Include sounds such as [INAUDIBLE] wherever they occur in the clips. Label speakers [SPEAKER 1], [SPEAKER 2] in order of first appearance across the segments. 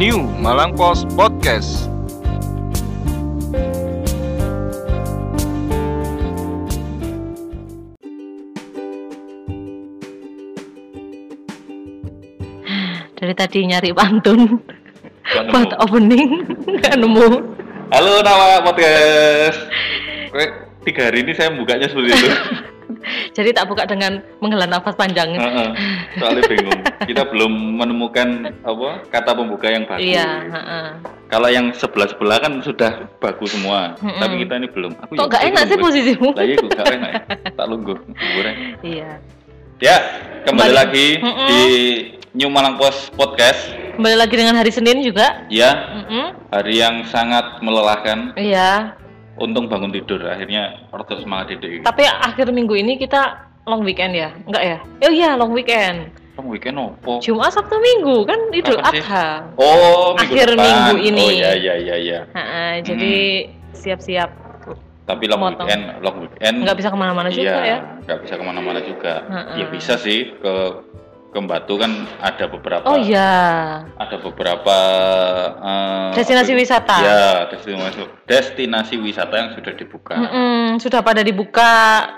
[SPEAKER 1] New Malang Post Podcast.
[SPEAKER 2] Dari tadi nyari pantun [LAUGHS]
[SPEAKER 3] Gak
[SPEAKER 2] buat
[SPEAKER 3] nemu.
[SPEAKER 2] opening nggak nemu.
[SPEAKER 3] Halo Nawa Podcast. Kayak tiga hari ini saya bukanya
[SPEAKER 2] [LAUGHS]
[SPEAKER 3] seperti itu.
[SPEAKER 2] Jadi tak buka dengan menghela nafas panjang.
[SPEAKER 3] Heeh. Soalnya bingung. Kita belum menemukan apa kata pembuka yang bagus.
[SPEAKER 2] Iya. heeh.
[SPEAKER 3] Kalau yang sebelah sebelah kan sudah bagus semua.
[SPEAKER 2] Mm-mm.
[SPEAKER 3] Tapi kita ini belum. Aku ya,
[SPEAKER 2] Kok nggak enak sih posisimu?
[SPEAKER 3] Lagi aku nggak enak. ya. Tak lungguh. Kuburan.
[SPEAKER 2] Iya.
[SPEAKER 3] Ya
[SPEAKER 2] Kembali.
[SPEAKER 3] kembali lagi
[SPEAKER 2] Mm-mm.
[SPEAKER 3] di New Malang Post Podcast.
[SPEAKER 2] Kembali lagi dengan hari Senin juga.
[SPEAKER 3] Ya
[SPEAKER 2] Mm-mm.
[SPEAKER 3] hari yang sangat melelahkan.
[SPEAKER 2] Iya.
[SPEAKER 3] Untung bangun tidur. Akhirnya order semangat tidur.
[SPEAKER 2] Tapi akhir minggu ini kita long weekend ya? Enggak ya? Oh iya long weekend.
[SPEAKER 3] Kamu weekend opo?
[SPEAKER 2] Jumat Sabtu Minggu kan Idul
[SPEAKER 3] Kapan sih?
[SPEAKER 2] Adha.
[SPEAKER 3] Oh, minggu
[SPEAKER 2] Akhir
[SPEAKER 3] depan.
[SPEAKER 2] minggu ini.
[SPEAKER 3] Oh ya ya ya ya.
[SPEAKER 2] Heeh, Ah, jadi siap-siap.
[SPEAKER 3] Tapi long
[SPEAKER 2] Motong.
[SPEAKER 3] weekend, long weekend.
[SPEAKER 2] Nggak bisa kemana-mana juga
[SPEAKER 3] iya,
[SPEAKER 2] ya?
[SPEAKER 3] Nggak bisa kemana-mana juga.
[SPEAKER 2] Heeh.
[SPEAKER 3] Ya bisa sih ke ke Batu kan ada beberapa.
[SPEAKER 2] Oh iya.
[SPEAKER 3] Ada beberapa eh,
[SPEAKER 2] Destinasi
[SPEAKER 3] apa-
[SPEAKER 2] wisata.
[SPEAKER 3] Iya, destinasi destinasi wisata yang sudah dibuka.
[SPEAKER 2] Mm-mm, sudah pada dibuka.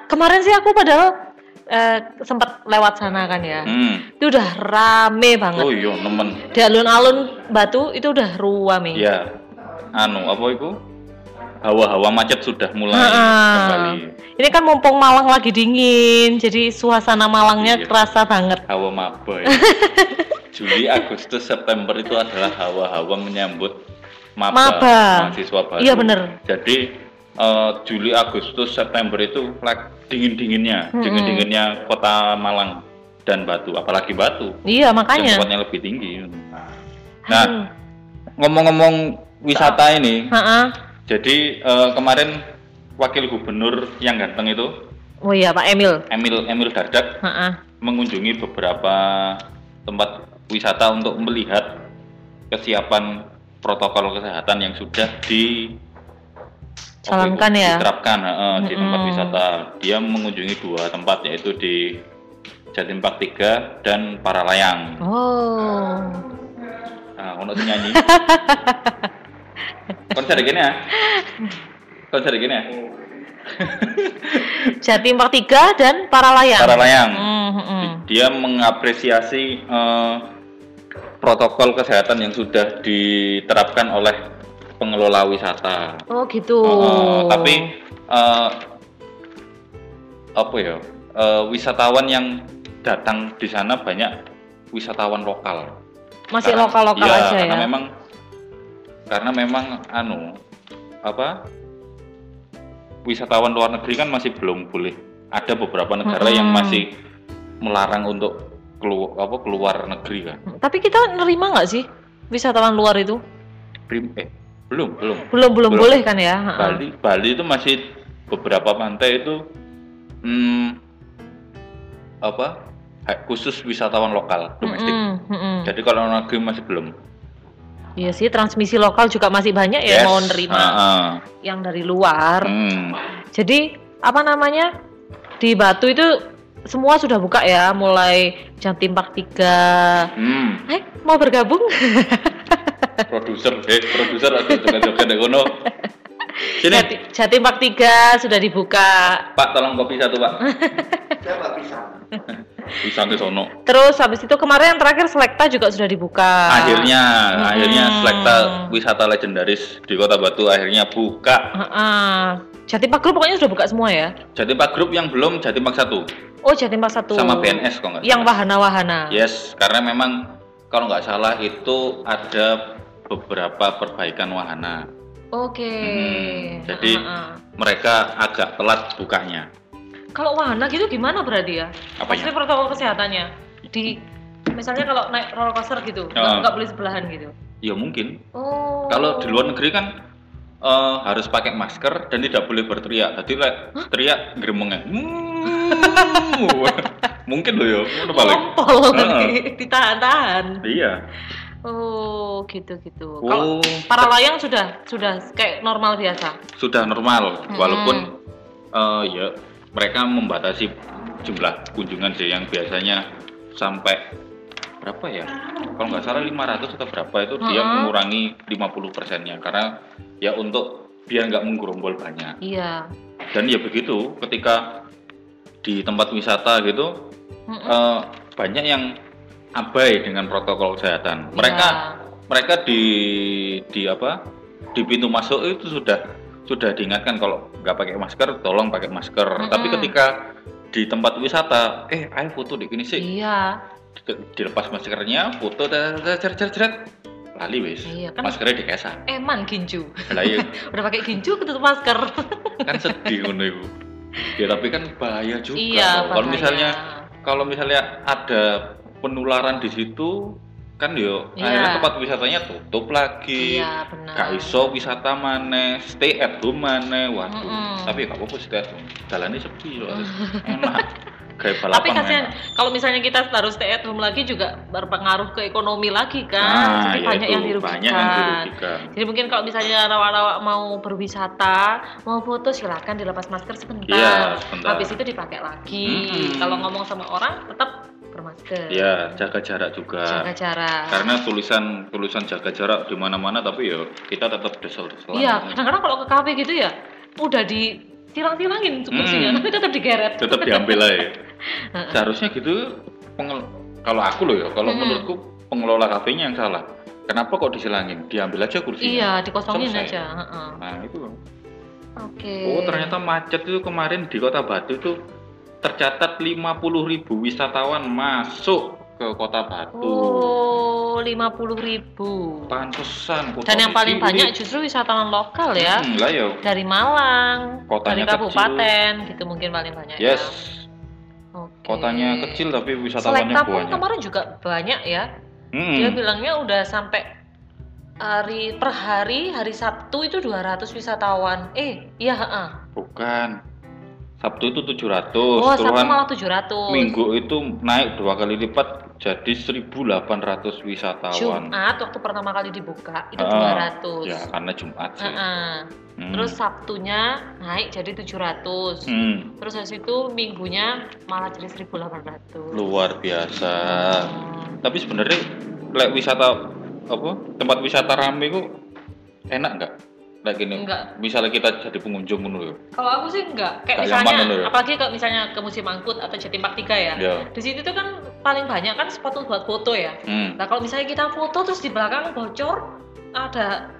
[SPEAKER 2] Kemarin sih aku padahal eh, sempat lewat sana kan ya.
[SPEAKER 3] Hmm.
[SPEAKER 2] Itu udah rame banget.
[SPEAKER 3] Oh iya, nemen.
[SPEAKER 2] Di alun-alun Batu itu udah ruame.
[SPEAKER 3] Ya. Anu, apa itu? Hawa-hawa macet sudah mulai
[SPEAKER 2] Heeh.
[SPEAKER 3] kembali.
[SPEAKER 2] Ini kan mumpung Malang lagi dingin, jadi suasana Malangnya
[SPEAKER 3] Iya.
[SPEAKER 2] kerasa banget.
[SPEAKER 3] hawa maba
[SPEAKER 2] [LAUGHS]
[SPEAKER 3] ya. Juli, Agustus, September itu adalah hawa-hawa menyambut maba,
[SPEAKER 2] Maba.
[SPEAKER 3] mahasiswa baru.
[SPEAKER 2] Iya, bener.
[SPEAKER 3] Jadi eh, Juli, Agustus, September itu like dingin-dinginnya,
[SPEAKER 2] Mm-mm.
[SPEAKER 3] dingin-dinginnya kota Malang dan Batu, apalagi Batu.
[SPEAKER 2] Iya
[SPEAKER 3] yang
[SPEAKER 2] makanya.
[SPEAKER 3] tempatnya lebih tinggi.
[SPEAKER 2] Hmm.
[SPEAKER 3] Nah, ngomong-ngomong wisata
[SPEAKER 2] Nah.
[SPEAKER 3] ini,
[SPEAKER 2] Heeh.
[SPEAKER 3] jadi eh, kemarin wakil gubernur yang ganteng itu
[SPEAKER 2] Oh iya Pak Emil.
[SPEAKER 3] Emil Emil Dardak
[SPEAKER 2] Heeh.
[SPEAKER 3] mengunjungi beberapa tempat wisata untuk melihat kesiapan protokol kesehatan yang sudah di
[SPEAKER 2] Jalankan ya.
[SPEAKER 3] diterapkan heeh, di tempat
[SPEAKER 2] Mm-mm.
[SPEAKER 3] wisata. Dia mengunjungi dua tempat yaitu di Jatim Park 3 dan Paralayang.
[SPEAKER 2] Oh.
[SPEAKER 3] Nah, ono sing
[SPEAKER 2] [LAUGHS]
[SPEAKER 3] nyanyi. konser gini ya. Konser gini ya.
[SPEAKER 2] Jatim Park 3 dan Paralayang.
[SPEAKER 3] Paralayang.
[SPEAKER 2] Hmm, hmm, hmm.
[SPEAKER 3] dia mengapresiasi eh, protokol kesehatan yang sudah diterapkan oleh pengelola wisata.
[SPEAKER 2] Oh gitu.
[SPEAKER 3] Eh, tapi eh, apa ya eh, wisatawan yang datang di sana banyak wisatawan lokal.
[SPEAKER 2] masih
[SPEAKER 3] Karena-
[SPEAKER 2] lokal-lokal
[SPEAKER 3] iya,
[SPEAKER 2] aja
[SPEAKER 3] Karena
[SPEAKER 2] ya.
[SPEAKER 3] memang karena memang anu apa wisatawan luar negeri kan masih belum boleh. Ada beberapa negara
[SPEAKER 2] Mm-mm.
[SPEAKER 3] yang masih melarang untuk keluar apa keluar negeri kan.
[SPEAKER 2] Tapi kita nerima nggak sih wisatawan luar itu?
[SPEAKER 3] Prim- eh, belum, belum.
[SPEAKER 2] Belum belum,
[SPEAKER 3] Belum.
[SPEAKER 2] boleh kan ya? Ha-ha.
[SPEAKER 3] Bali Bali itu masih beberapa pantai itu hmm, apa? ha- khusus wisatawan lokal domestik.
[SPEAKER 2] Mm-mm, mm-mm.
[SPEAKER 3] Jadi kalau luar negeri masih belum.
[SPEAKER 2] Iya sih transmisi lokal juga masih banyak ya
[SPEAKER 3] Yes,
[SPEAKER 2] mau nerima
[SPEAKER 3] ah,
[SPEAKER 2] yang dari
[SPEAKER 3] ah.
[SPEAKER 2] luar.
[SPEAKER 3] Hmm.
[SPEAKER 2] Jadi apa namanya di Batu itu semua sudah buka ya, mulai Jatim Park 3.
[SPEAKER 3] Hmm.
[SPEAKER 2] Eh mau bergabung?
[SPEAKER 3] produser eh produser ada tukang joget di kono sini
[SPEAKER 2] [LAUGHS] Jati- Jatim Park 3 sudah dibuka.
[SPEAKER 3] pak tolong kopi satu pak pisang pisang ke sono
[SPEAKER 2] Terus habis itu kemarin yang terakhir Selekta juga sudah dibuka.
[SPEAKER 3] akhirnya
[SPEAKER 2] Mm-mm.
[SPEAKER 3] akhirnya selekta wisata legendaris di kota batu akhirnya buka
[SPEAKER 2] Ha-ha. Jatim Park Group pokoknya sudah buka semua ya.
[SPEAKER 3] jadi pak grup yang belum jadi pak satu
[SPEAKER 2] Oh Jatim Park 1.
[SPEAKER 3] sama BNS kok
[SPEAKER 2] Yang
[SPEAKER 3] nggak salah. Iya.
[SPEAKER 2] wahana-wahana.
[SPEAKER 3] yes karena memang kalau nggak salah itu ada beberapa perbaikan wahana
[SPEAKER 2] Oke.
[SPEAKER 3] Hmm, jadi-
[SPEAKER 2] Ah, ah.
[SPEAKER 3] mereka agak telat bukanya
[SPEAKER 2] kalau wahana gitu gimana berarti ya?
[SPEAKER 3] Apanya?
[SPEAKER 2] Maksudnya protokol kesehatannya di misalnya kalau naik roller coaster gitu, nggak
[SPEAKER 3] Ah.
[SPEAKER 2] nggak boleh sebelahan gitu.
[SPEAKER 3] ya mungkin
[SPEAKER 2] Oh.
[SPEAKER 3] Kalau di luar negeri kan eh, harus pakai masker dan tidak boleh berteriak. Tadi lek teriak gremengnya. Hmm. Mungkin loh ya, ngono balik.
[SPEAKER 2] Kompol
[SPEAKER 3] Ah.
[SPEAKER 2] nanti [LAUGHS] ditahan-tahan.
[SPEAKER 3] Iya.
[SPEAKER 2] Oh, gitu-gitu. Kalau
[SPEAKER 3] Oh,
[SPEAKER 2] para layang sudah sudah kayak normal biasa.
[SPEAKER 3] sudah normal
[SPEAKER 2] Mm-mm.
[SPEAKER 3] walaupun eh, ya mereka membatasi jumlah kunjungan sih yang biasanya sampai berapa ya? Kalau nggak salah 500 atau berapa itu dia
[SPEAKER 2] Mm-mm.
[SPEAKER 3] mengurangi 50 persennya karena ya untuk biar nggak menggerombol banyak.
[SPEAKER 2] Iya.
[SPEAKER 3] Dan ya begitu ketika di tempat wisata gitu
[SPEAKER 2] Mm-mm.
[SPEAKER 3] eh, banyak yang abai dengan protokol
[SPEAKER 2] Iya.
[SPEAKER 3] kesehatan. Mereka mereka di di apa di pintu masuk itu sudah sudah diingatkan kalau nggak pakai masker tolong pakai masker
[SPEAKER 2] Mm-mm.
[SPEAKER 3] tapi ketika di tempat wisata eh ayo foto di sini
[SPEAKER 2] Iya.
[SPEAKER 3] sih
[SPEAKER 2] Iya.
[SPEAKER 3] Di- dilepas maskernya foto tet- tet- tet- tet- tet. lali wis
[SPEAKER 2] Iya, kan-
[SPEAKER 3] maskernya dikesah
[SPEAKER 2] Eman ginju.
[SPEAKER 3] lah iya,
[SPEAKER 2] [LAUGHS] Udah pakai ginju ketutup masker.
[SPEAKER 3] kan sedih ngono iku. ya tapi kan bahaya juga
[SPEAKER 2] iya.
[SPEAKER 3] loh. kalau
[SPEAKER 2] bahaya.
[SPEAKER 3] misalnya kalau misalnya ada penularan di situ kan yo
[SPEAKER 2] Iya.
[SPEAKER 3] akhirnya tempat wisatanya tutup lagi
[SPEAKER 2] Iya benar.
[SPEAKER 3] gak iso wisata maneh, stay at home maneh. Waduh,
[SPEAKER 2] Mm-mm. Mm.
[SPEAKER 3] tapi gak apa-apa stay at home. Jalannya sepi loh.
[SPEAKER 2] [LAUGHS]
[SPEAKER 3] enak. Kayak balapan.
[SPEAKER 2] Tapi kasihan
[SPEAKER 3] enak.
[SPEAKER 2] kalau misalnya kita harus stay at home lagi juga berpengaruh ke ekonomi lagi kan.
[SPEAKER 3] Nah,
[SPEAKER 2] Jadi
[SPEAKER 3] ya
[SPEAKER 2] banyak
[SPEAKER 3] itu,
[SPEAKER 2] yang dirugikan.
[SPEAKER 3] Banyak yang dirugikan.
[SPEAKER 2] Jadi mungkin kalau misalnya rawa-rawa mau berwisata, mau foto silakan dilepas masker sebentar.
[SPEAKER 3] Iya, sebentar.
[SPEAKER 2] Habis itu dipakai lagi.
[SPEAKER 3] Mm-mm.
[SPEAKER 2] Kalau ngomong sama orang tetap bermasker.
[SPEAKER 3] Ya, jaga jarak juga.
[SPEAKER 2] Jaga jarak.
[SPEAKER 3] Karena tulisan tulisan jaga jarak di mana-mana tapi ya kita tetap desel-deselan.
[SPEAKER 2] Iya, kadang-kadang kalau ke kafe gitu ya udah ditilang-tilangin kursinya,
[SPEAKER 3] Hmm.
[SPEAKER 2] tapi tetap digeret.
[SPEAKER 3] Tetap diambil aja.
[SPEAKER 2] [LAUGHS] Heeh.
[SPEAKER 3] Seharusnya gitu pengel- kalau aku loh ya, kalau
[SPEAKER 2] Mm-mm.
[SPEAKER 3] menurutku pengelola kafenya yang salah. Kenapa kok diselangin? Diambil aja kursinya.
[SPEAKER 2] Iya, dikosongin
[SPEAKER 3] Selesai.
[SPEAKER 2] aja. heeh.
[SPEAKER 3] Nah, itu
[SPEAKER 2] Oke.
[SPEAKER 3] Oh ternyata macet itu kemarin di Kota Batu itu tercatat 50.000 wisatawan masuk ke Kota Batu.
[SPEAKER 2] Oh, 50 ribu.
[SPEAKER 3] Pantesan kota
[SPEAKER 2] Dan yang
[SPEAKER 3] kecil
[SPEAKER 2] paling
[SPEAKER 3] ini.
[SPEAKER 2] banyak justru wisatawan lokal ya.
[SPEAKER 3] Hmm, lah ya.
[SPEAKER 2] Dari Malang, dari
[SPEAKER 3] Kotanya kecil.
[SPEAKER 2] kabupaten, gitu mungkin paling banyak
[SPEAKER 3] Yes.
[SPEAKER 2] ya. Oke.
[SPEAKER 3] Kotanya kecil tapi wisatawannya
[SPEAKER 2] Selekta pun
[SPEAKER 3] banyak.
[SPEAKER 2] kemarin juga banyak ya.
[SPEAKER 3] Hmm,
[SPEAKER 2] Dia bilangnya udah sampai hari per hari hari Sabtu itu 200 wisatawan. Eh, iya heeh.
[SPEAKER 3] bukan. Sabtu itu 700,
[SPEAKER 2] Oh, Sabtu
[SPEAKER 3] Tuhan
[SPEAKER 2] malah 700.
[SPEAKER 3] minggu itu naik dua kali lipat jadi 1.800 wisatawan.
[SPEAKER 2] Jumat waktu pertama kali dibuka itu
[SPEAKER 3] Ah,
[SPEAKER 2] 200.
[SPEAKER 3] Ya karena Jumat sih.
[SPEAKER 2] Heeh.
[SPEAKER 3] Hmm.
[SPEAKER 2] Terus Sabtunya naik jadi 700.
[SPEAKER 3] Hmm,
[SPEAKER 2] Terus habis itu minggunya malah jadi 1800.
[SPEAKER 3] luar biasa.
[SPEAKER 2] Hmm.
[SPEAKER 3] tapi sebenarnya lek wisata apa tempat wisata rame kok enak nggak lek gini
[SPEAKER 2] Enggak.
[SPEAKER 3] misalnya kita jadi pengunjung ngono ya
[SPEAKER 2] Kalau aku sih enggak. Kayak
[SPEAKER 3] Nggak
[SPEAKER 2] misalnya
[SPEAKER 3] nyaman dulu ya?
[SPEAKER 2] apalagi kalau misalnya ke musim angkut atau Jatim Park 3 ya.
[SPEAKER 3] ya
[SPEAKER 2] Di situ tuh kan paling banyak kan spot buat foto ya.
[SPEAKER 3] hmm.
[SPEAKER 2] Nah, kalau misalnya kita foto terus di belakang bocor ada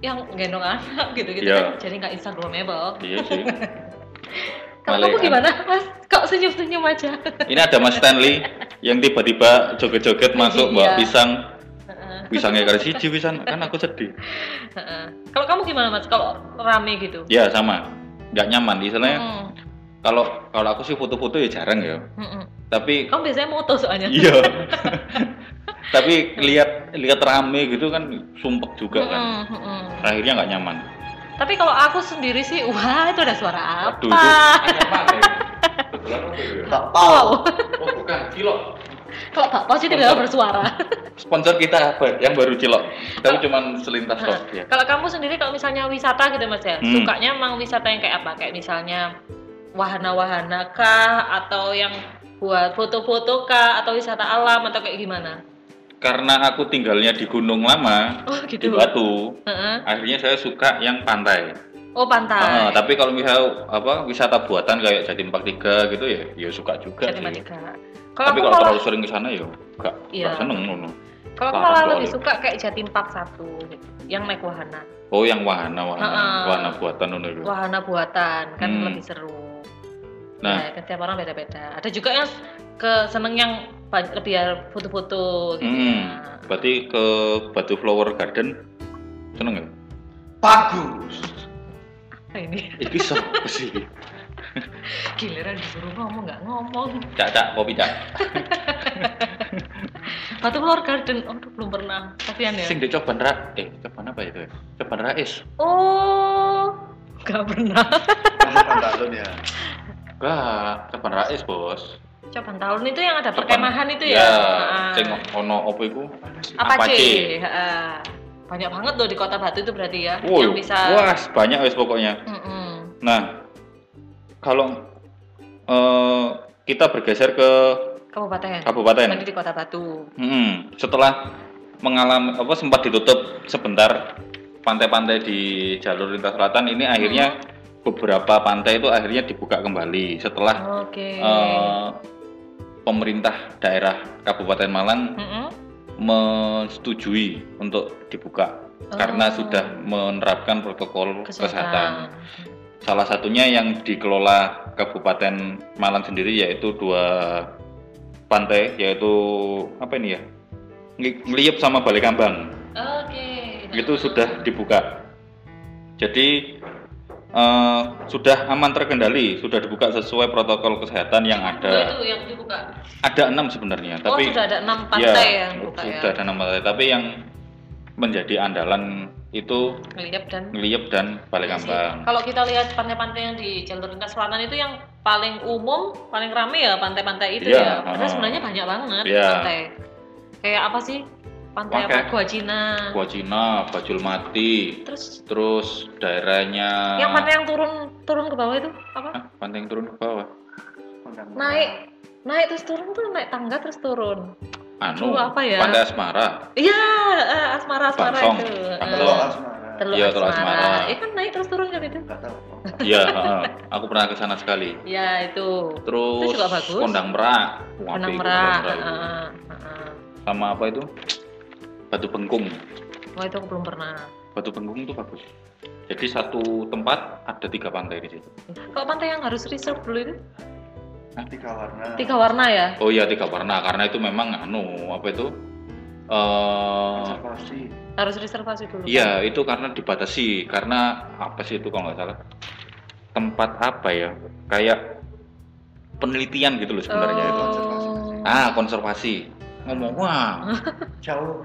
[SPEAKER 2] yang gendong anak gitu-gitu
[SPEAKER 3] Iya.
[SPEAKER 2] kan jadi nggak instagramable.
[SPEAKER 3] iya sih
[SPEAKER 2] Kalau
[SPEAKER 3] Malah
[SPEAKER 2] kamu
[SPEAKER 3] yang-
[SPEAKER 2] gimana, Mas? Kok senyum-senyum aja? [LAUGHS]
[SPEAKER 3] ini ada Mas Stanley yang tiba-tiba joget-joget masuk
[SPEAKER 2] Iya.
[SPEAKER 3] mbak pisang
[SPEAKER 2] Heeh,
[SPEAKER 3] pisangnya kali siji pisan kan aku sedih
[SPEAKER 2] heeh. kalau kamu gimana, Mas? Kalau rame gitu?
[SPEAKER 3] ya sama nggak nyaman istilahnya
[SPEAKER 2] Mm,
[SPEAKER 3] kalau kalau aku sih foto-foto ya jarang ya
[SPEAKER 2] mm, mm.
[SPEAKER 3] tapi
[SPEAKER 2] Kamu biasanya moto soalnya.
[SPEAKER 3] iya [LAUGHS] tapi lihat lihat rame gitu kan sumpek juga kan
[SPEAKER 2] Mm, mm, mm.
[SPEAKER 3] akhirnya nggak nyaman
[SPEAKER 2] Tapi kalau aku sendiri sih, wah itu ada suara
[SPEAKER 3] Aduh,
[SPEAKER 2] apa?
[SPEAKER 3] ya.
[SPEAKER 2] Bakpao.
[SPEAKER 3] Oh, bukan cilok.
[SPEAKER 2] Kalau bakpao sih tidak bersuara.
[SPEAKER 3] Sponsor kita apa? Yang baru cilok. Tapi cuman selintas
[SPEAKER 2] Nah,
[SPEAKER 3] dok ya.
[SPEAKER 2] [LAUGHS] Kalau kamu sendiri kalau misalnya wisata gitu mas ya,
[SPEAKER 3] Hmm.
[SPEAKER 2] sukanya emang wisata yang kayak apa? Kayak misalnya wahana-wahana kah? Atau yang buat foto-foto kah? Atau wisata alam? Atau kayak gimana?
[SPEAKER 3] Karena aku tinggalnya di Gunung Lama,
[SPEAKER 2] Oh
[SPEAKER 3] di
[SPEAKER 2] gitu?
[SPEAKER 3] Batu,
[SPEAKER 2] Heeh.
[SPEAKER 3] akhirnya saya suka yang pantai.
[SPEAKER 2] Oh pantai?
[SPEAKER 3] Ah, tapi kalau misal apa wisata buatan kayak Jatim Park 3 gitu ya, ya suka juga
[SPEAKER 2] Jadi
[SPEAKER 3] sih.
[SPEAKER 2] Matika. Kalau
[SPEAKER 3] Tapi
[SPEAKER 2] aku
[SPEAKER 3] kalau
[SPEAKER 2] malah,
[SPEAKER 3] terlalu sering ke sana ya enggak
[SPEAKER 2] Iya.
[SPEAKER 3] seneng ngono.
[SPEAKER 2] kalau aku
[SPEAKER 3] larang
[SPEAKER 2] malah
[SPEAKER 3] soalnya.
[SPEAKER 2] lebih suka kayak Jatim Park satu yang naik wahana,
[SPEAKER 3] Oh, yang wahana wahana,
[SPEAKER 2] Ah, ah.
[SPEAKER 3] wahana buatan ngono itu.
[SPEAKER 2] wahana buatan kan
[SPEAKER 3] Hmm.
[SPEAKER 2] lebih seru. Nah,
[SPEAKER 3] Nah,
[SPEAKER 2] kan setiap orang beda-beda. Ada juga yang ke seneng yang ba- lebih ya foto-foto gitu.
[SPEAKER 3] hmm,
[SPEAKER 2] ya.
[SPEAKER 3] berarti ke Batu Flower Garden seneng ya?
[SPEAKER 1] Bagus.
[SPEAKER 2] Nah, [LAUGHS] ini
[SPEAKER 3] Iki sapa sih?
[SPEAKER 2] giliran disuruh ngomong nggak ngomong.
[SPEAKER 3] Cak cak kopi cak.
[SPEAKER 2] Batu Flower Garden, oh belum pernah. Kasihan ya.
[SPEAKER 3] Sing di coban ra eh coban apa itu? ya? Coban rais.
[SPEAKER 2] Oh, nggak pernah. [LAUGHS]
[SPEAKER 1] Kamu pantalon ya.
[SPEAKER 3] Enggak, coban rais, Bos.
[SPEAKER 2] Coba tahun itu yang ada
[SPEAKER 3] Coban-
[SPEAKER 2] perkemahan itu ya.
[SPEAKER 3] Ya,
[SPEAKER 2] Heeh.
[SPEAKER 3] sing ono opo iku?
[SPEAKER 2] apa
[SPEAKER 3] Apache.
[SPEAKER 2] sih? Heeh. Banyak banget loh di Kota Batu itu berarti ya
[SPEAKER 3] Woi,
[SPEAKER 2] yang bisa.
[SPEAKER 3] wah, banyak wis pokoknya.
[SPEAKER 2] Mm-mm.
[SPEAKER 3] Nah, kalau eh, kita bergeser ke
[SPEAKER 2] Kabupaten.
[SPEAKER 3] Kabupaten.
[SPEAKER 2] Tadi di Kota Batu.
[SPEAKER 3] Hmm, setelah mengalami apa sempat ditutup sebentar pantai-pantai di jalur lintas selatan ini akhirnya beberapa pantai itu akhirnya dibuka kembali setelah
[SPEAKER 2] Oke.
[SPEAKER 3] eh, pemerintah daerah Kabupaten Malang
[SPEAKER 2] Mm-mm.
[SPEAKER 3] menyetujui untuk dibuka karena
[SPEAKER 2] Oh.
[SPEAKER 3] sudah menerapkan protokol kesehatan.
[SPEAKER 2] kesehatan.
[SPEAKER 3] Salah satunya yang dikelola Kabupaten Malang sendiri yaitu dua pantai yaitu apa ini ya? Ngi- Ngeliyep sama Balekambang.
[SPEAKER 2] Oke.
[SPEAKER 3] Itu sudah dibuka. Jadi eh, sudah aman terkendali, sudah dibuka sesuai protokol kesehatan yang
[SPEAKER 2] Dua
[SPEAKER 3] ada.
[SPEAKER 2] Oh, itu yang dibuka.
[SPEAKER 3] Ada enam sebenarnya,
[SPEAKER 2] oh,
[SPEAKER 3] tapi
[SPEAKER 2] sudah ada enam pantai
[SPEAKER 3] ya,
[SPEAKER 2] yang dibuka ya.
[SPEAKER 3] sudah ada enam pantai. Tapi yang menjadi andalan itu
[SPEAKER 2] Ngeliat dan
[SPEAKER 3] Ngeliyep dan
[SPEAKER 2] Iya
[SPEAKER 3] Balekambang.
[SPEAKER 2] Kalau kita lihat pantai-pantai yang di jalur lintas selatan itu yang paling umum, paling rame ya pantai-pantai itu ya.
[SPEAKER 3] Iya,
[SPEAKER 2] Padahal
[SPEAKER 3] ha.
[SPEAKER 2] sebenarnya banyak banget
[SPEAKER 3] Iya.
[SPEAKER 2] pantai. Kayak apa sih? Pantai apa?
[SPEAKER 3] Oke.
[SPEAKER 2] Gua Cina.
[SPEAKER 3] Gua Cina, Bajul Mati,
[SPEAKER 2] Terus
[SPEAKER 3] terus daerahnya
[SPEAKER 2] yang mana yang turun turun ke bawah itu apa?
[SPEAKER 3] Ah, pantai yang turun ke bawah
[SPEAKER 2] Naik naik terus turun tuh naik tangga terus turun.
[SPEAKER 3] anu
[SPEAKER 2] Aduh, apa ya?
[SPEAKER 3] pantai
[SPEAKER 2] [LAUGHS]
[SPEAKER 3] asmara
[SPEAKER 2] Iya, eh, asmara-asmara
[SPEAKER 3] Bangsong.
[SPEAKER 2] itu. Eh,
[SPEAKER 1] Kalau asmara.
[SPEAKER 2] Teluk
[SPEAKER 3] Iya, Teluk
[SPEAKER 2] asmara.
[SPEAKER 3] Asmara.
[SPEAKER 2] Iya kan naik terus turun kan itu.
[SPEAKER 1] Nggak tahu.
[SPEAKER 3] iya heeh. aku pernah ke sana sekali
[SPEAKER 2] Iya, itu.
[SPEAKER 3] terus
[SPEAKER 2] Itu juga bagus.
[SPEAKER 3] kondang merak Wah,
[SPEAKER 2] Benang
[SPEAKER 3] itu
[SPEAKER 2] merah.
[SPEAKER 3] Kondang Merak.
[SPEAKER 2] heeh, heeh.
[SPEAKER 3] sama apa itu batu bengkung
[SPEAKER 2] Wah, Oh, itu aku belum pernah.
[SPEAKER 3] batu bengkung itu bagus jadi satu tempat ada tiga pantai di situ
[SPEAKER 2] Kalau pantai yang harus reserve dulu itu
[SPEAKER 1] Tiga warna.
[SPEAKER 2] tiga warna ya?
[SPEAKER 3] oh iya tiga warna karena itu memang anu apa itu eh
[SPEAKER 1] Konservasi.
[SPEAKER 2] Harus reservasi dulu.
[SPEAKER 3] Iya, itu karena dibatasi. Karena apa sih itu kalau nggak salah? Tempat apa ya? Kayak penelitian gitu loh
[SPEAKER 2] kan?
[SPEAKER 3] sebenarnya itu.
[SPEAKER 1] konservasi.
[SPEAKER 2] Oh.
[SPEAKER 3] Ah, konservasi. Ngomong,
[SPEAKER 2] [LAUGHS]
[SPEAKER 3] wah,
[SPEAKER 1] Jauh.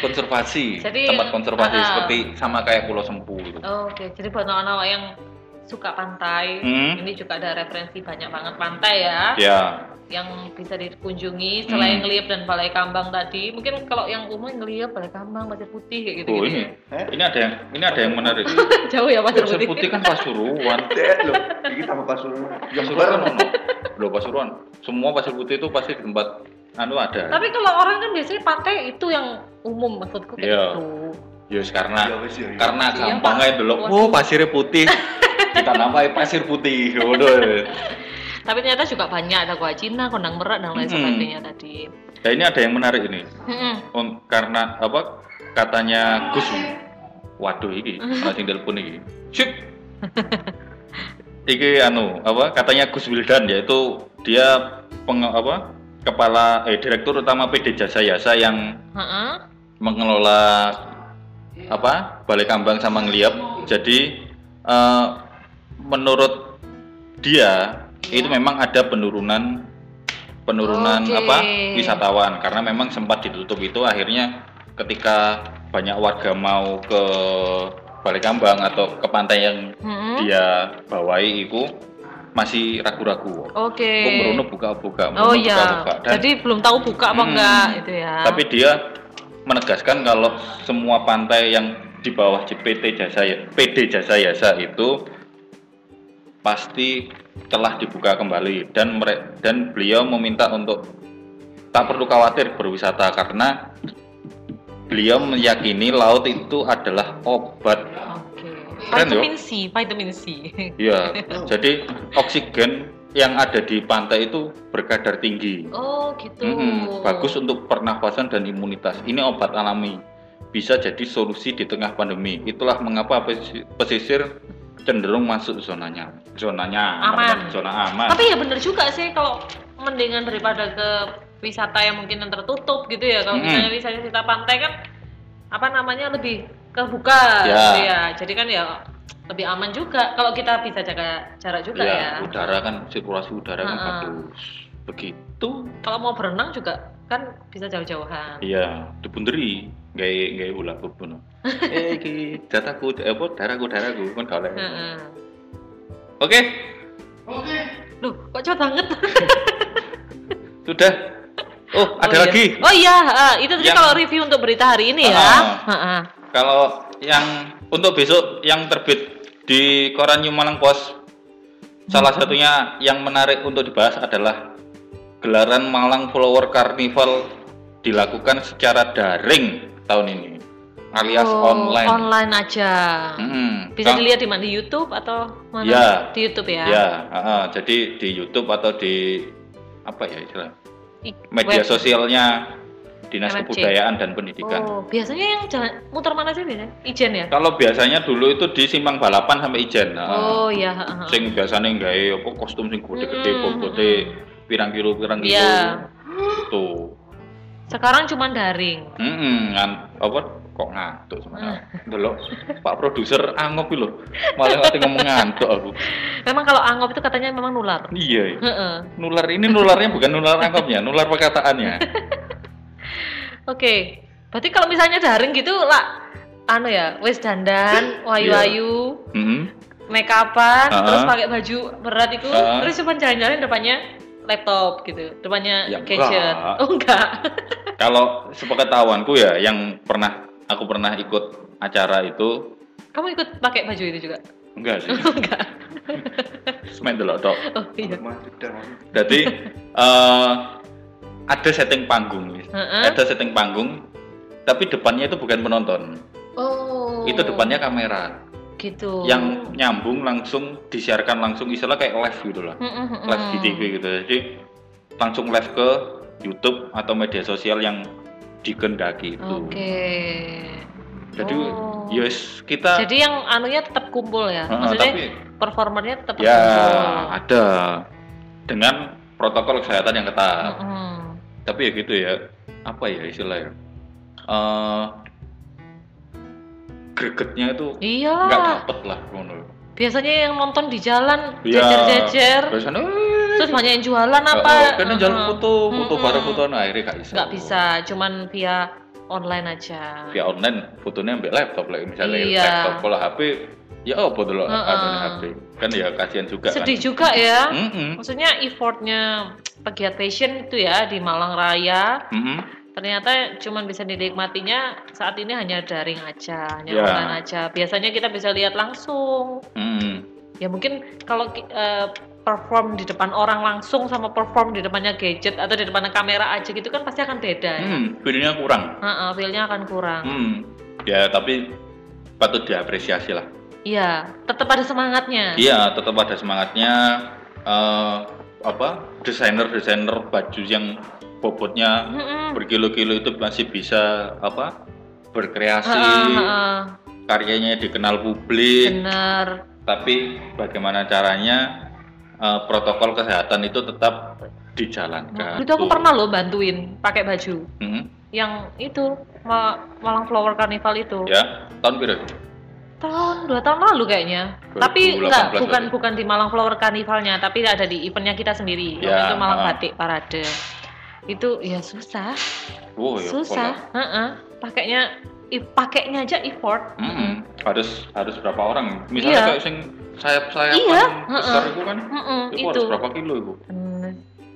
[SPEAKER 3] konservasi.
[SPEAKER 2] Jadi,
[SPEAKER 3] Tempat konservasi
[SPEAKER 2] ah.
[SPEAKER 3] seperti sama kayak Pulau Sempu gitu.
[SPEAKER 2] Oh, Oke, jadi buat anak-anak yang suka pantai,
[SPEAKER 3] Hmm,
[SPEAKER 2] ini juga ada referensi banyak banget pantai ya
[SPEAKER 3] Ya,
[SPEAKER 2] yang bisa dikunjungi selain
[SPEAKER 3] Hmm.
[SPEAKER 2] Ngeliep dan Balai Kambang tadi. Mungkin kalau yang umum Ngeliep, Balai Kambang, Pasir Putih kayak gitu.
[SPEAKER 3] oh ini,
[SPEAKER 1] Eh?
[SPEAKER 3] ini ada yang, ini ada yang menarik.
[SPEAKER 2] [LAUGHS] Jauh ya Pasir
[SPEAKER 3] Pasir
[SPEAKER 2] Putih.
[SPEAKER 3] Putih kan Pasuruan.
[SPEAKER 1] Dek loh. Ini Eh, tambah pasuruan.
[SPEAKER 3] Pasuruan kan ono. Loh, Pasuruan. Semua Pasir Putih itu pasti di tempat anu ada.
[SPEAKER 2] Tapi kalau orang kan biasanya pantai itu yang umum maksudku kayak
[SPEAKER 3] Iya.
[SPEAKER 2] gitu.
[SPEAKER 3] Yes, karena
[SPEAKER 1] Ya wis ya. ya.
[SPEAKER 3] karena
[SPEAKER 2] Iya,
[SPEAKER 3] gampang
[SPEAKER 2] Pak.
[SPEAKER 3] aja dulu wow pasirnya
[SPEAKER 2] [LAUGHS]
[SPEAKER 3] putih kita namai pasir putih waduh
[SPEAKER 2] Tapi ternyata juga banyak ada gua Cina, kondang merak dan lain
[SPEAKER 3] Mm-mm.
[SPEAKER 2] sebagainya tadi. Hmm.
[SPEAKER 3] nah ini ada yang menarik ini
[SPEAKER 2] Mm-mm.
[SPEAKER 3] Un- karena apa katanya Gus waduh
[SPEAKER 2] [LAUGHS]
[SPEAKER 3] ini masih telepon ini Syuk. iki anu apa katanya Gus Wildan yaitu dia peng, apa kepala eh direktur utama PD Jasa Yasa yang
[SPEAKER 2] Heeh.
[SPEAKER 3] mengelola apa Balai Kambang sama Ngeliap. Jadi eh, menurut dia
[SPEAKER 2] Iya.
[SPEAKER 3] itu memang ada penurunan penurunan
[SPEAKER 2] Oke.
[SPEAKER 3] apa wisatawan karena memang sempat ditutup itu akhirnya ketika banyak warga mau ke Balai Kambang atau ke pantai yang
[SPEAKER 2] Mm-mm.
[SPEAKER 3] Iya. dia bawai itu masih ragu-ragu.
[SPEAKER 2] Oke.
[SPEAKER 3] Kok merono buka-buka,
[SPEAKER 2] Oh
[SPEAKER 3] merono
[SPEAKER 2] iya.
[SPEAKER 3] buka-buka. Dan-
[SPEAKER 2] Jadi belum tahu buka apa
[SPEAKER 3] Hmm.
[SPEAKER 2] enggak itu ya.
[SPEAKER 3] tapi dia menegaskan kalau semua pantai yang di bawah JPT jasa Ya- PD jasa yasa itu pasti telah dibuka kembali dan mere- dan beliau meminta untuk tak perlu khawatir berwisata karena beliau meyakini laut itu adalah obat
[SPEAKER 2] Oke.
[SPEAKER 3] Keren, yo.
[SPEAKER 2] Vitamin C, vitamin C. [LAUGHS]
[SPEAKER 3] ya jadi oksigen yang ada di pantai itu berkadar tinggi
[SPEAKER 2] Oh gitu.
[SPEAKER 3] Mm-mm, Hmm, bagus untuk pernafasan dan imunitas. Ini obat alami, bisa jadi solusi di tengah pandemi. Itulah mengapa pesi- pesisir cenderung masuk zonanya, zonanya
[SPEAKER 2] Aman.
[SPEAKER 3] zona aman.
[SPEAKER 2] Tapi ya bener juga sih kalau mendingan daripada ke wisata yang mungkin yang tertutup gitu ya. Kalau
[SPEAKER 3] Mm-mm.
[SPEAKER 2] misalnya wisata wisata pantai kan apa namanya lebih kebuka
[SPEAKER 3] Ya.
[SPEAKER 2] gitu ya. Jadi kan ya lebih aman juga kalau kita bisa jaga jarak juga
[SPEAKER 3] ya,
[SPEAKER 2] ya.
[SPEAKER 3] udara kan sirkulasi udara kan
[SPEAKER 2] Ha-ha.
[SPEAKER 3] bagus. Begitu,
[SPEAKER 2] Kalau mau berenang juga kan bisa jauh-jauhan.
[SPEAKER 3] iya, dibunderi, gaya gaya ulah
[SPEAKER 2] [LAUGHS]
[SPEAKER 3] bubun. eh, ki, dataku, eh, apa, daraku, daraku, kan gak oleh.
[SPEAKER 2] Heeh.
[SPEAKER 3] Oke,
[SPEAKER 1] Oke.
[SPEAKER 2] Loh, kok cepet banget?
[SPEAKER 3] sudah. Oh, ada
[SPEAKER 2] Oh, iya.
[SPEAKER 3] lagi.
[SPEAKER 2] Oh iya, eh, itu tadi
[SPEAKER 3] Yang-
[SPEAKER 2] kalau review untuk berita hari ini ya.
[SPEAKER 3] Ah.
[SPEAKER 2] Heeh.
[SPEAKER 3] Kalau yang untuk besok yang terbit di koran New Malang Post, salah satunya yang menarik untuk dibahas adalah gelaran Malang Flower Carnival dilakukan secara daring tahun ini alias
[SPEAKER 2] Oh,
[SPEAKER 3] online.
[SPEAKER 2] Online aja.
[SPEAKER 3] Mm-mm. Kan?
[SPEAKER 2] Bisa
[SPEAKER 3] Kang-
[SPEAKER 2] dilihat di mana di YouTube atau mana?
[SPEAKER 3] Ya.
[SPEAKER 2] Di YouTube ya.
[SPEAKER 3] Ya, heeh. jadi di YouTube atau di apa ya istilah
[SPEAKER 2] I-
[SPEAKER 3] media kan?
[SPEAKER 2] web.
[SPEAKER 3] sosialnya Dinas
[SPEAKER 2] MFC.
[SPEAKER 3] Kebudayaan dan Pendidikan.
[SPEAKER 2] Oh, biasanya yang jalan muter mana sih biasanya? Ijen ya?
[SPEAKER 3] Kalau biasanya dulu itu di Simpang Balapan sampai Ijen. heeh.
[SPEAKER 2] Oh, iya, heeh.
[SPEAKER 3] Ah. sing biasanya nggawe apa kostum sing gede-gede
[SPEAKER 2] Hmm.
[SPEAKER 3] bobote pirang kilo pirang kilo Gitu.
[SPEAKER 2] Iya.
[SPEAKER 3] tuh
[SPEAKER 2] Sekarang cuma daring.
[SPEAKER 3] Mm-mm, Hmm, ngan- apa kok ngantuk sebenarnya
[SPEAKER 2] Hmm.
[SPEAKER 3] delok pak produser angop iki lho malah nanti ngomong ngantuk aku
[SPEAKER 2] Memang kalau anggap itu katanya memang nular.
[SPEAKER 3] iya
[SPEAKER 2] Heeh.
[SPEAKER 3] nular ini nularnya bukan nular angopnya nular perkataannya
[SPEAKER 2] Oke. Berarti kalau misalnya daring gitu lah anu ya, wis
[SPEAKER 3] Iya.
[SPEAKER 2] dandan, wayu-wayu,
[SPEAKER 3] Mm-mm.
[SPEAKER 2] make upan,
[SPEAKER 3] Ha-ha.
[SPEAKER 2] terus pakai baju berat itu,
[SPEAKER 3] Ha-ha.
[SPEAKER 2] terus cuma jalan-jalan depannya laptop gitu, depannya
[SPEAKER 3] Ya,
[SPEAKER 2] gadget.
[SPEAKER 3] enggak.
[SPEAKER 2] Oh enggak. [LAUGHS]
[SPEAKER 3] kalau sepengetahuanku ya yang pernah aku pernah ikut acara itu
[SPEAKER 2] Kamu ikut pakai baju itu juga? [LAUGHS]
[SPEAKER 3] enggak sih
[SPEAKER 2] enggak.
[SPEAKER 3] main delok tok
[SPEAKER 2] Oh iya.
[SPEAKER 1] Masuk dalam.
[SPEAKER 3] jadi
[SPEAKER 2] [LAUGHS]
[SPEAKER 3] eh, ada setting panggung
[SPEAKER 2] Heeh.
[SPEAKER 3] ada setting panggung tapi depannya itu bukan penonton
[SPEAKER 2] Oh.
[SPEAKER 3] itu depannya kamera
[SPEAKER 2] gitu.
[SPEAKER 3] yang nyambung langsung disiarkan langsung istilah kayak live gitu lah
[SPEAKER 2] Mm-mm, mm-mm.
[SPEAKER 3] live di TV gitu jadi langsung live ke YouTube atau media sosial yang dikendaki itu
[SPEAKER 2] Oke.
[SPEAKER 3] Gitu. jadi
[SPEAKER 2] Oh.
[SPEAKER 3] yes kita
[SPEAKER 2] Jadi yang anunya tetap kumpul ya.
[SPEAKER 3] Heeh,
[SPEAKER 2] Maksudnya
[SPEAKER 3] tapi
[SPEAKER 2] performernya tetap
[SPEAKER 3] ya
[SPEAKER 2] kumpul.
[SPEAKER 3] ada dengan protokol kesehatan yang ketat
[SPEAKER 2] Mm-mm.
[SPEAKER 3] tapi ya gitu ya apa ya istilahnya Eh gregetnya itu
[SPEAKER 2] Iya.
[SPEAKER 3] nggak dapet lah ngono
[SPEAKER 2] Biasanya yang nonton di jalan
[SPEAKER 3] Iya.
[SPEAKER 2] jejer-jejer.
[SPEAKER 3] biasanya
[SPEAKER 2] Terus banyak yang jualan
[SPEAKER 3] eh,
[SPEAKER 2] apa?
[SPEAKER 3] eh, kena jalan
[SPEAKER 2] Heeh.
[SPEAKER 3] foto foto
[SPEAKER 2] Mm-mm.
[SPEAKER 3] bareng foto nah, akhirnya nggak bisa
[SPEAKER 2] Nggak bisa, cuman via online aja.
[SPEAKER 3] via online fotonya ambil laptop lah misalnya
[SPEAKER 2] Iya.
[SPEAKER 3] laptop kalau HP ya apa tuh lo
[SPEAKER 2] Heeh.
[SPEAKER 3] anu nih HP kan ya kasihan juga
[SPEAKER 2] Sedih
[SPEAKER 3] kan
[SPEAKER 2] juga ya.
[SPEAKER 3] Mm-mm.
[SPEAKER 2] Maksudnya effortnya pegiat fashion itu ya di Malang Raya
[SPEAKER 3] Mm-mm.
[SPEAKER 2] ternyata cuman bisa dinikmatinya saat ini hanya daring aja, hanya
[SPEAKER 3] Ya.
[SPEAKER 2] online aja. Biasanya kita bisa lihat langsung.
[SPEAKER 3] Mm-mm.
[SPEAKER 2] Ya mungkin kalau ki- eh, perform di depan orang langsung sama perform di depannya gadget atau di depan kamera aja gitu kan pasti akan beda. ya.
[SPEAKER 3] Mm, feelingnya kurang
[SPEAKER 2] Heeh, feel-nya akan kurang.
[SPEAKER 3] Mm. ya tapi patut diapresiasi lah
[SPEAKER 2] Iya, tetap ada semangatnya.
[SPEAKER 3] Iya, tetap ada semangatnya. eh, apa desainer-desainer baju yang bobotnya
[SPEAKER 2] Heeh.
[SPEAKER 3] berkilo-kilo itu masih bisa apa berkreasi,
[SPEAKER 2] Heeh, heeh.
[SPEAKER 3] karyanya dikenal publik.
[SPEAKER 2] Bener.
[SPEAKER 3] Tapi bagaimana caranya eh, protokol kesehatan itu tetap dijalankan.
[SPEAKER 2] Itu aku
[SPEAKER 3] tuh.
[SPEAKER 2] pernah loh bantuin pakai baju
[SPEAKER 3] Hmm,
[SPEAKER 2] yang itu Ma- Malang Flower Carnival itu.
[SPEAKER 3] ya, tahun berapa?
[SPEAKER 2] tahun dua tahun lalu kayaknya tapi
[SPEAKER 3] 2018
[SPEAKER 2] enggak bukan
[SPEAKER 3] berarti.
[SPEAKER 2] bukan di Malang Flower Carnivalnya tapi ada di eventnya kita sendiri waktu
[SPEAKER 3] Ya,
[SPEAKER 2] itu Malang
[SPEAKER 3] ah.
[SPEAKER 2] Batik Parade itu ya susah
[SPEAKER 3] Wow, ya,
[SPEAKER 2] susah Heeh. pakainya i- pakainya aja effort
[SPEAKER 3] kalau- Mm-mm, Hmm, harus harus berapa orang? Misalnya
[SPEAKER 2] Iya.
[SPEAKER 3] kayak sing sayap-sayapan
[SPEAKER 2] Iya,
[SPEAKER 3] besar
[SPEAKER 2] heeh.
[SPEAKER 3] itu kan,
[SPEAKER 2] Mm-mm,
[SPEAKER 3] itu,
[SPEAKER 2] itu
[SPEAKER 3] harus berapa kilo itu?
[SPEAKER 2] Hmm,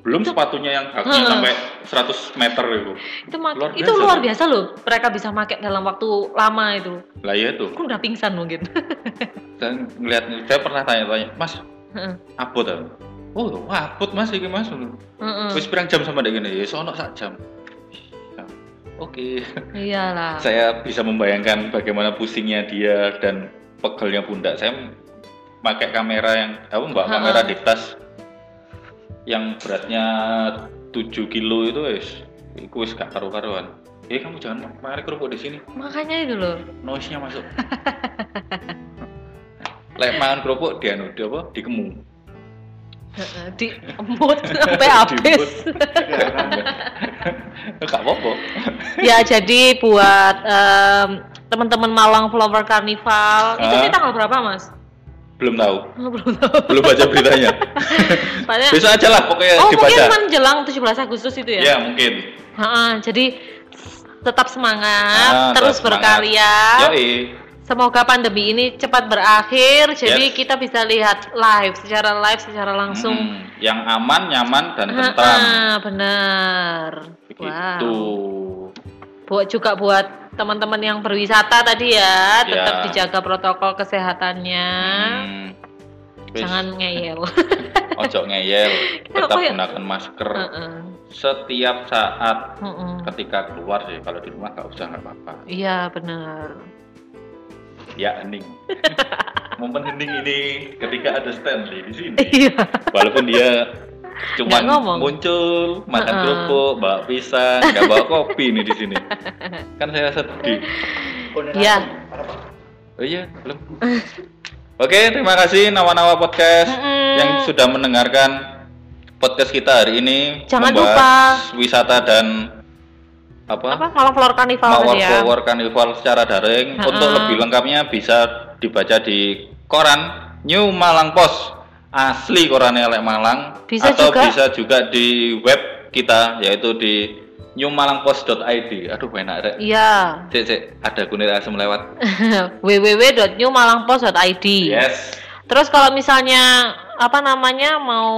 [SPEAKER 3] belum sepatunya yang kakinya
[SPEAKER 2] Heeh.
[SPEAKER 3] sampai 100 meter itu
[SPEAKER 2] itu mak-
[SPEAKER 3] Luar
[SPEAKER 2] itu
[SPEAKER 3] biasa.
[SPEAKER 2] luar biasa loh mereka bisa pakai dalam waktu lama itu
[SPEAKER 3] lah iya tuh
[SPEAKER 2] aku udah pingsan gitu. mungkin
[SPEAKER 3] dan ngeliat saya pernah tanya-tanya mas
[SPEAKER 2] Heeh.
[SPEAKER 3] abot ah?" oh abot mas ini mas
[SPEAKER 2] Heeh.
[SPEAKER 3] wis pirang jam sama dengan ini ya sono sak jam Nah, oke
[SPEAKER 2] iyalah
[SPEAKER 3] saya bisa membayangkan bagaimana pusingnya dia dan pegelnya pundak saya pakai kamera yang apa mbak
[SPEAKER 2] Heeh.
[SPEAKER 3] kamera di tas yang beratnya 7 kilo itu wis iku wis gak karu-karuan eh kamu jangan mari kerupuk di sini
[SPEAKER 2] makanya itu loh
[SPEAKER 3] noise-nya masuk. [LAUGHS] Lek mangan kerupuk dianu di apa? Dikemu.
[SPEAKER 2] Heeh,
[SPEAKER 3] [LAUGHS]
[SPEAKER 2] di emut sampai habis
[SPEAKER 3] Enggak apa-apa.
[SPEAKER 2] ya jadi buat em, teman-teman Malang Flower Carnival itu
[SPEAKER 3] Ah.
[SPEAKER 2] sih tanggal berapa mas?
[SPEAKER 3] Belum tahu,
[SPEAKER 2] Oh, belum tahu.
[SPEAKER 3] belum baca
[SPEAKER 2] [LAUGHS]
[SPEAKER 3] beritanya.
[SPEAKER 2] Padahal-
[SPEAKER 3] Besok aja lah pokoknya
[SPEAKER 2] oh mungkin
[SPEAKER 3] dibaca.
[SPEAKER 2] menjelang 17 Agustus itu ya?
[SPEAKER 3] Ya mungkin.
[SPEAKER 2] Ha-ha, jadi s- tetap semangat,
[SPEAKER 3] Ah,
[SPEAKER 2] terus
[SPEAKER 3] tetap
[SPEAKER 2] berkarya.
[SPEAKER 3] Yoi.
[SPEAKER 2] Semoga pandemi ini cepat berakhir, jadi
[SPEAKER 3] Yes.
[SPEAKER 2] kita bisa lihat live secara live secara langsung. Ah,
[SPEAKER 3] Mm, yang aman, nyaman dan
[SPEAKER 2] Ha-ha,
[SPEAKER 3] tentram.
[SPEAKER 2] benar.
[SPEAKER 3] Begitu.
[SPEAKER 2] buat juga buat teman-teman yang berwisata tadi ya
[SPEAKER 3] Ya.
[SPEAKER 2] tetap dijaga protokol kesehatannya
[SPEAKER 3] Hmm. Wis. [LAUGHS]
[SPEAKER 2] jangan ngeyel
[SPEAKER 3] ojo ngeyel,
[SPEAKER 2] [LAUGHS]
[SPEAKER 3] tetap
[SPEAKER 2] Kenapa ya? ah.
[SPEAKER 3] gunakan masker
[SPEAKER 2] Heeh,
[SPEAKER 3] setiap saat
[SPEAKER 2] heeh.
[SPEAKER 3] ketika keluar sih. Kalau di rumah nggak usah nggak apa-apa.
[SPEAKER 2] Iya benar.
[SPEAKER 3] Ya
[SPEAKER 2] [LAUGHS]
[SPEAKER 3] hening. Momen hening ini ketika ada Stanley di sini.
[SPEAKER 2] Iya.
[SPEAKER 3] Walaupun dia cuman
[SPEAKER 2] Nggak ngomong.
[SPEAKER 3] muncul makan
[SPEAKER 2] Heeh.
[SPEAKER 3] kerupuk, bawa pisang, nggak bawa kopi nih di sini.
[SPEAKER 2] [LAUGHS]
[SPEAKER 3] Kan saya sedih.
[SPEAKER 2] Iya.
[SPEAKER 3] Oh iya, belum.
[SPEAKER 2] [LAUGHS]
[SPEAKER 3] Oke, terima kasih Nawa-Nawa Podcast
[SPEAKER 2] Mm-mm.
[SPEAKER 3] yang sudah mendengarkan podcast kita hari ini.
[SPEAKER 2] Jangan
[SPEAKER 3] membahas wisata dan
[SPEAKER 2] Apa
[SPEAKER 3] apa?
[SPEAKER 2] malam flower karnival
[SPEAKER 3] Mawar
[SPEAKER 2] tadi ya?
[SPEAKER 3] Flower Carnival secara daring.
[SPEAKER 2] Ha-ha.
[SPEAKER 3] Untuk lebih lengkapnya bisa dibaca di koran New Malang Post asli koran elek Malang
[SPEAKER 2] Bisa
[SPEAKER 3] atau
[SPEAKER 2] juga-
[SPEAKER 3] bisa juga di web kita yaitu di newmalangpost.id. Aduh, enak rek.
[SPEAKER 2] Iya. [LAUGHS]
[SPEAKER 3] Cek, cek, ada kunir asem lewat.
[SPEAKER 2] www.newmalangpost.id.
[SPEAKER 3] Yes.
[SPEAKER 2] Terus kalau misalnya apa namanya mau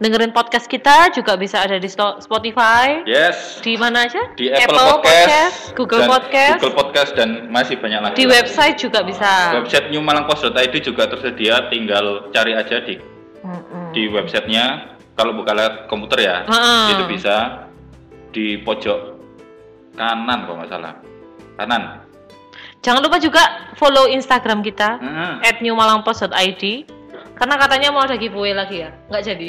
[SPEAKER 2] dengerin podcast kita juga bisa ada di Sto- Spotify.
[SPEAKER 3] Yes.
[SPEAKER 2] Di mana aja?
[SPEAKER 3] Di Apple, Podcast,
[SPEAKER 2] Google
[SPEAKER 3] dan
[SPEAKER 2] Podcast,
[SPEAKER 3] Google Podcast dan masih banyak lagi.
[SPEAKER 2] di website juga bisa.
[SPEAKER 3] Website newmalangpost.id juga tersedia, tinggal cari aja di
[SPEAKER 2] Mm-mm.
[SPEAKER 3] di websitenya. Kalau buka lewat komputer ya,
[SPEAKER 2] Heeh.
[SPEAKER 3] itu bisa di pojok kanan kalau nggak salah, kanan.
[SPEAKER 2] Jangan lupa juga follow Instagram kita
[SPEAKER 3] Heeh.
[SPEAKER 2] @newmalangpost.id karena katanya mau ada giveaway lagi ya. Nggak jadi.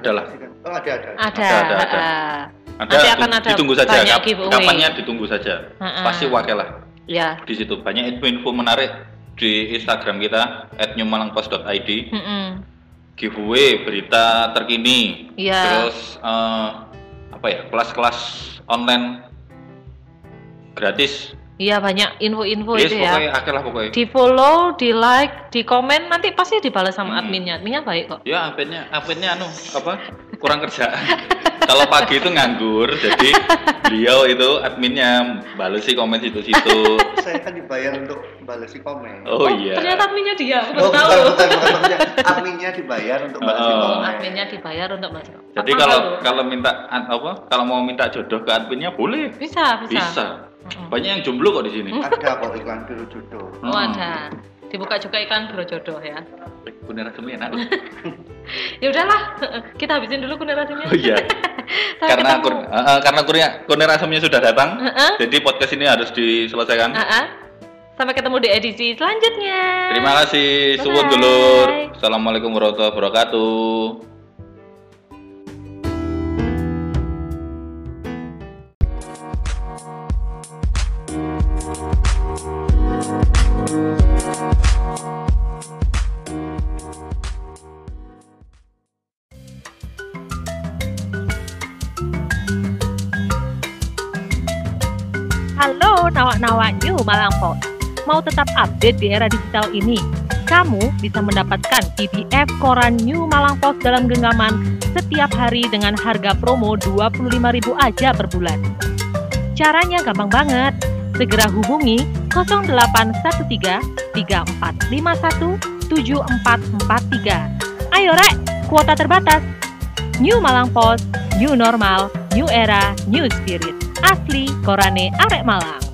[SPEAKER 3] Ada lah.
[SPEAKER 1] Oh, ada, ada.
[SPEAKER 2] [LAUGHS] ada.
[SPEAKER 3] ada, ada.
[SPEAKER 2] ah.
[SPEAKER 3] Ada,
[SPEAKER 2] Nanti akan ada
[SPEAKER 3] ditunggu saja.
[SPEAKER 2] banyak
[SPEAKER 3] Kap-
[SPEAKER 2] giveaway.
[SPEAKER 3] Kapannya ditunggu saja.
[SPEAKER 2] Heeh.
[SPEAKER 3] Pasti wakil lah
[SPEAKER 2] Ya.
[SPEAKER 3] di situ. Banyak info-info menarik di Instagram kita @newmalangpost.id.
[SPEAKER 2] Mm-mm.
[SPEAKER 3] giveaway berita terkini
[SPEAKER 2] Iya.
[SPEAKER 3] terus eh, apa ya kelas-kelas online gratis
[SPEAKER 2] Iya banyak info-info
[SPEAKER 3] yes
[SPEAKER 2] itu ya.
[SPEAKER 3] pokoknya akeh lah pokoknya
[SPEAKER 2] di follow, di like, di komen nanti pasti dibalas sama
[SPEAKER 3] Hmm.
[SPEAKER 2] adminnya. Adminnya baik kok.
[SPEAKER 3] ya update-nya update-nya anu apa kurang kerjaan kalau pagi itu nganggur jadi beliau itu adminnya balesi komen situ-situ
[SPEAKER 1] Saya kan dibayar untuk balesi komen.
[SPEAKER 3] oh, iya
[SPEAKER 2] Ternyata adminnya dia, aku
[SPEAKER 1] Oh,
[SPEAKER 2] baru tahu.
[SPEAKER 1] bukan, bukan, bukan, maksudnya adminnya dibayar untuk balesi
[SPEAKER 3] Oh.
[SPEAKER 1] komen.
[SPEAKER 2] Adminnya dibayar untuk balas.
[SPEAKER 3] jadi
[SPEAKER 2] Apa
[SPEAKER 3] kalau
[SPEAKER 2] tahu?
[SPEAKER 3] kalau minta ad- apa kalau mau minta jodoh ke adminnya boleh
[SPEAKER 2] bisa, bisa.
[SPEAKER 3] bisa
[SPEAKER 2] Mm-mm.
[SPEAKER 3] banyak yang jomblo kok di sini Hmm.
[SPEAKER 1] Ada kok iklan biru jodoh.
[SPEAKER 2] Oh, ada. Dibuka juga iklan bro jodoh ya.
[SPEAKER 3] Bener enak.
[SPEAKER 2] [LAUGHS] Ya udahlah, [LAUGHS] kita habisin dulu kunir asinnya.
[SPEAKER 3] Oh iya.
[SPEAKER 2] [LAUGHS] Sampai
[SPEAKER 3] karena
[SPEAKER 2] ketemu.
[SPEAKER 3] kur, eh, eh, karena kurnya kurnia rasamnya sudah datang,
[SPEAKER 2] Heeh.
[SPEAKER 3] jadi podcast ini harus diselesaikan.
[SPEAKER 2] Ah-ah. Sampai ketemu di edisi selanjutnya.
[SPEAKER 3] Terima
[SPEAKER 2] Bye-bye.
[SPEAKER 3] kasih, suwun dulur. Assalamualaikum warahmatullahi wabarakatuh.
[SPEAKER 4] Halo nawak-nawak New Malang Post. Mau tetap update di era digital ini? Kamu bisa mendapatkan PDF koran New Malang Post dalam genggaman setiap hari dengan harga promo 25.000 aja per bulan. Caranya gampang banget. Segera hubungi 0813 3451 7443. Ayo rek, kuota terbatas. New Malang Post, new normal, new era, new spirit asli Korane Arek Malang.